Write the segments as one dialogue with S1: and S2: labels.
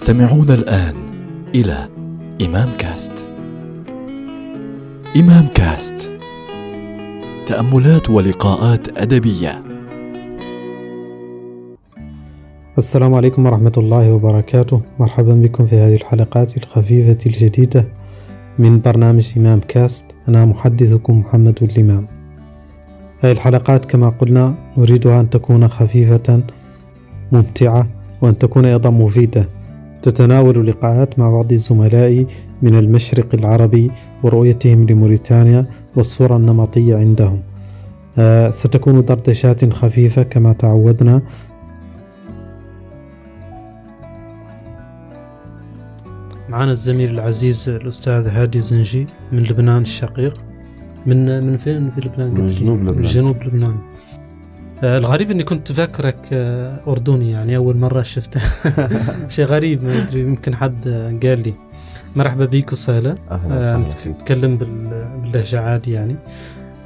S1: تستمعون الآن إلى إمام كاست. إمام كاست تأملات ولقاءات أدبية.
S2: السلام عليكم ورحمة الله وبركاته مرحبا بكم في هذه الحلقات الخفيفة الجديدة من برنامج إمام كاست أنا محدثكم محمد الإمام هذه الحلقات كما قلنا نريدها أن تكون خفيفة ممتعة وأن تكون أيضا مفيدة تتناول لقاءات مع بعض الزملاء من المشرق العربي ورؤيتهم لموريتانيا والصورة النمطية عندهم آه، ستكون دردشات خفيفة كما تعودنا معنا الزميل العزيز الأستاذ هادي زنجي من لبنان الشقيق من من فين في لبنان؟
S3: من
S2: قلت لي؟
S3: جنوب لبنان.
S2: من جنوب لبنان آه، الغريب اني كنت فاكرك آه، اردني يعني اول مره شفته شيء غريب ما ادري يمكن حد آه، قال لي مرحبا بيك وسهلا
S3: اهلا
S2: آه،
S3: وسهلا
S2: انت
S3: فيك
S2: تتكلم بال- باللهجه عادي يعني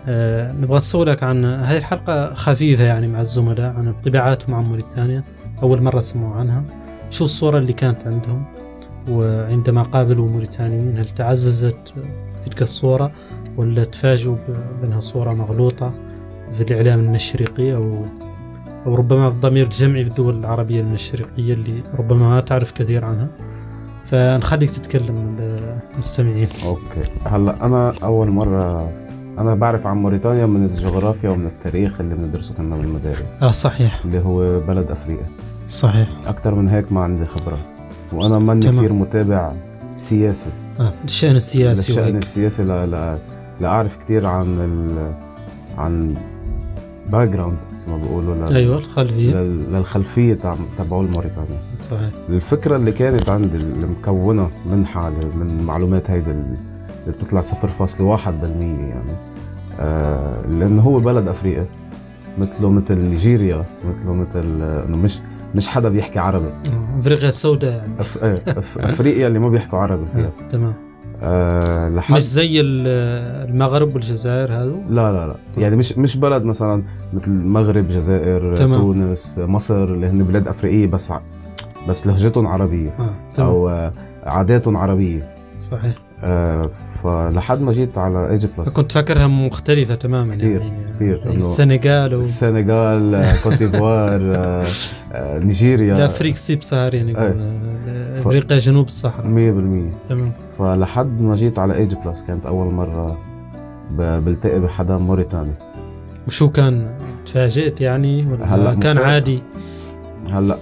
S2: آه، نبغى نسولك عن هذه الحلقه خفيفه يعني مع الزملاء عن انطباعاتهم عن موريتانيا اول مره سمعوا عنها شو الصوره اللي كانت عندهم وعندما قابلوا موريتانيين هل تعززت تلك الصوره ولا تفاجئوا ب- بانها صوره مغلوطه في الاعلام المشرقي او او ربما الضمير الجمعي في الدول العربيه المشرقيه اللي ربما ما تعرف كثير عنها فنخليك تتكلم للمستمعين
S3: اوكي هلا انا اول مره انا بعرف عن موريتانيا من الجغرافيا ومن التاريخ اللي بندرسه كنا بالمدارس
S2: اه صحيح
S3: اللي هو بلد افريقيا
S2: صحيح
S3: اكتر من هيك ما عندي خبره وانا ماني
S2: تمام.
S3: كثير متابع سياسي
S2: آه. الشان السياسي
S3: للشان
S2: وهيك.
S3: السياسي لا لا لا اعرف كثير عن ال... عن باك جراوند ما بيقولوا لل...
S2: ايوه الخلفيه
S3: لل... للخلفيه تاع تبعول موريتانيا
S2: صحيح
S3: الفكرة اللي كانت عندي اللي مكونة من حالي من معلومات هيدي اللي بتطلع 0.1% يعني آه لأن هو بلد أفريقيا مثله مثل نيجيريا مثله مثل آه، إنه مش مش حدا بيحكي عربي
S2: آه، افريقيا السوداء يعني
S3: أف... آه، أف... أفريقيا اللي ما بيحكوا عربي فيها
S2: آه. تمام
S3: آه
S2: مش
S3: لحد
S2: زي ال- المغرب والجزائر هذو
S3: لا لا لا يعني مش مش بلد مثلا مثل المغرب جزائر
S2: تمام.
S3: تونس مصر اللي هن بلاد أفريقية بس ع... بس لهجتهم عربية
S2: اه تمام
S3: أو آه، عاداتهم عربية
S2: صحيح
S3: آه، فلحد ما جيت على ايجي بلس
S2: كنت فاكرها مختلفة تماما
S3: كثير،
S2: يعني
S3: كثير،
S2: يعني
S3: إنه-
S2: السنغال و
S3: السنغال آه، كوت ديفوار آه، آه،
S2: ده
S3: نيجيريا 100%
S2: افريق سيب سهر يعني
S3: أي.
S2: آه، افريقيا جنوب الصحراء تمام
S3: فلحد ما جيت على ايجي بلس كانت اول مره ب- بلتقي بحدا موريتاني
S2: وشو كان تفاجئت يعني ولا
S3: هلأ
S2: كان
S3: مفاجأة.
S2: عادي
S3: هلا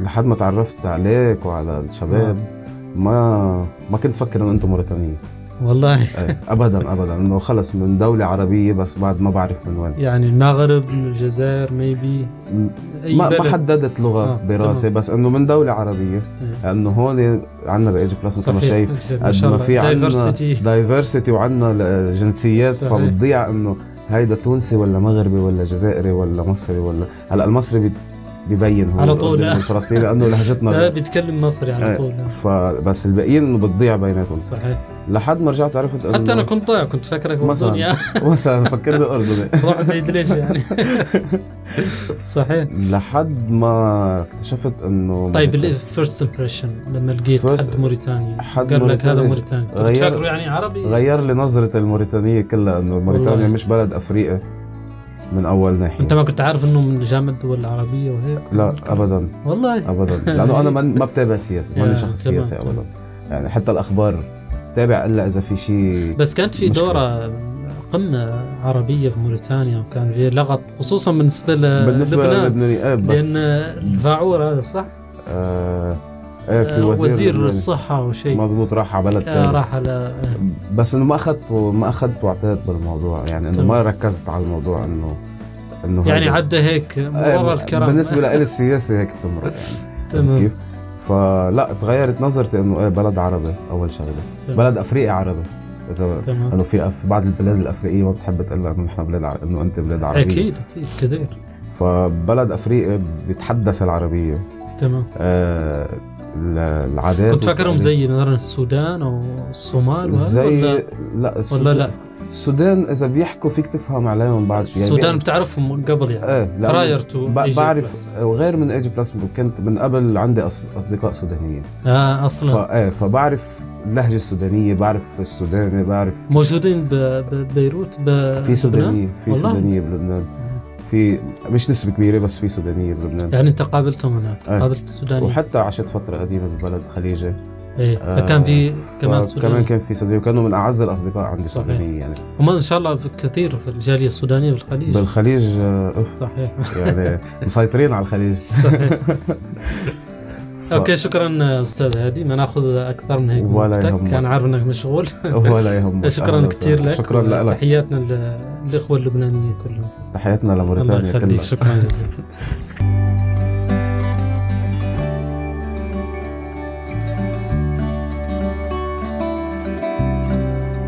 S3: لحد ما تعرفت عليك وعلى الشباب
S2: آه.
S3: ما ما كنت فكر انه انتم موريتانيين
S2: والله
S3: إيه، ابدا ابدا انه خلص من دوله عربيه بس بعد ما بعرف من وين
S2: يعني المغرب الجزائر ميبي اي
S3: ما
S2: بلد
S3: ما حددت لغه
S2: آه،
S3: دراسه
S2: تمام.
S3: بس انه من دوله عربيه
S2: إيه.
S3: لانه هون عندنا بايجي بلس مثل ما
S2: صحيح.
S3: شايف قد ما في عندنا
S2: Diversity.
S3: دايفرسيتي وعندنا جنسيات
S2: صحيح.
S3: فبتضيع انه هيدا تونسي ولا مغربي ولا جزائري ولا مصري ولا هلا المصري بي- ببين هو
S2: على طول.
S3: الأردني والفلسطيني لانه
S2: لا
S3: لهجتنا
S2: بيتكلم مصري على
S3: إيه.
S2: طول
S3: فبس الباقيين انه بتضيع بيناتهم
S2: صحيح
S3: لحد ما رجعت عرفت انه
S2: حتى انا كنت ضايع كنت فاكرك
S3: مثلاً.
S2: اردني
S3: مثلا فكرت اردني
S2: روح بعيد ليش يعني صحيح
S3: لحد ما اكتشفت انه
S2: طيب الفيرست امبريشن لما لقيت
S3: First-
S2: حد موريتاني
S3: حد
S2: قال لك هذا
S3: موريتاني.
S2: موريتاني كنت
S3: غير-
S2: فاكره يعني عربي
S3: غير لي نظرة الموريتانية كلها انه موريتانيا
S2: والله.
S3: مش بلد افريقي من اول ناحية
S2: انت ما كنت عارف انه من جامعه الدول العربيه وهيك
S3: لا ابدا
S2: والله
S3: ابدا لانه انا ما ما بتابع سياسه
S2: يا،
S3: ماني شخص
S2: تمام،
S3: سياسي
S2: تمام.
S3: ابدا يعني حتى الاخبار تابع الا اذا في شيء
S2: بس كانت في
S3: مشكلة.
S2: دوره قمه عربيه في موريتانيا وكان في لغط خصوصا بالنسبه ل-
S3: بالنسبه
S2: لبنان
S3: للبناني ايه
S2: لان
S3: بس
S2: الفاعور هذا صح
S3: آه ايه في
S2: آه،
S3: وزير,
S2: وزير
S3: لبناني.
S2: الصحه او شيء
S3: مزبوط راح على بلد
S2: آه،
S3: ثاني
S2: راح على
S3: بس انه ما اخذت ما اخذت واعتدت بالموضوع يعني انه
S2: تمام.
S3: ما ركزت على الموضوع انه انه
S2: يعني
S3: هيدا-
S2: عدى هيك مرور
S3: إيه،
S2: الكرام
S3: بالنسبه لإلي السياسه هيك بتمرق يعني عرفت
S2: تمام
S3: كيف؟ فلا تغيرت نظرتي انه ايه بلد عربي اول شغله
S2: تمام.
S3: بلد افريقي عربي اذا
S2: تمام
S3: انه في في بعض البلاد الافريقيه ما بتحب تقول لها انه نحن بلاد عر... انه انت بلاد عربيه
S2: اكيد اكيد كثير
S3: فبلد افريقيا بيتحدث العربيه
S2: تمام
S3: آه ال- العادات
S2: كنت فاكرهم
S3: والتقاليد.
S2: زي مثلا السودان او الصومال وهذا
S3: يعني. زي يعني
S2: ولا
S3: لا السودان-
S2: ولا لا
S3: السودان اذا بيحكوا فيك تفهم عليهم بعد
S2: السودان بتعرفهم قبل يعني
S3: ايه لأنه
S2: براير تو
S3: ب- بعرف وغير من ايجي بلس كنت من قبل عندي أص- اصدقاء سودانيين
S2: اه
S3: ف...
S2: اصلا
S3: ايه فبعرف اللهجه السودانيه بعرف السوداني بعرف
S2: موجودين ب- ببيروت ب-
S3: في
S2: بلبنان؟
S3: سودانيه في
S2: آه، والله؟ آه.
S3: سودانيه بلبنان في مش نسبه كبيره بس في سودانيه بلبنان
S2: يعني انت قابلتهم هناك
S3: إيه.
S2: قابلت السوداني
S3: وحتى عشت فتره قديمه بالبلد خليجه
S2: ايه
S3: آه،
S2: فكان في كمان
S3: كمان
S2: سوداني
S3: كان في سودانيين وكانوا من اعز الاصدقاء عندي
S2: صحيح.
S3: سودانيين يعني
S2: هم ان شاء الله في كثير في الجاليه السودانيه بالخليج
S3: بالخليج آه، أوف،
S2: صحيح
S3: يعني مسيطرين على الخليج
S2: صحيح
S3: ف-
S2: اوكي شكرا استاذ هادي ما ناخذ اكثر من هيك من
S3: ولا
S2: وقتك
S3: يهمك.
S2: كان عارف انك مشغول
S3: ولا يهمك
S2: شكرا
S3: أهلاً
S2: كثير
S3: وسهلاً.
S2: لك
S3: شكرا لك
S2: تحياتنا للاخوه اللبنانيين كلهم
S3: تحياتنا
S2: الله
S3: لموريتانيا
S2: يخليك
S3: كلها
S2: شكرا جزيلا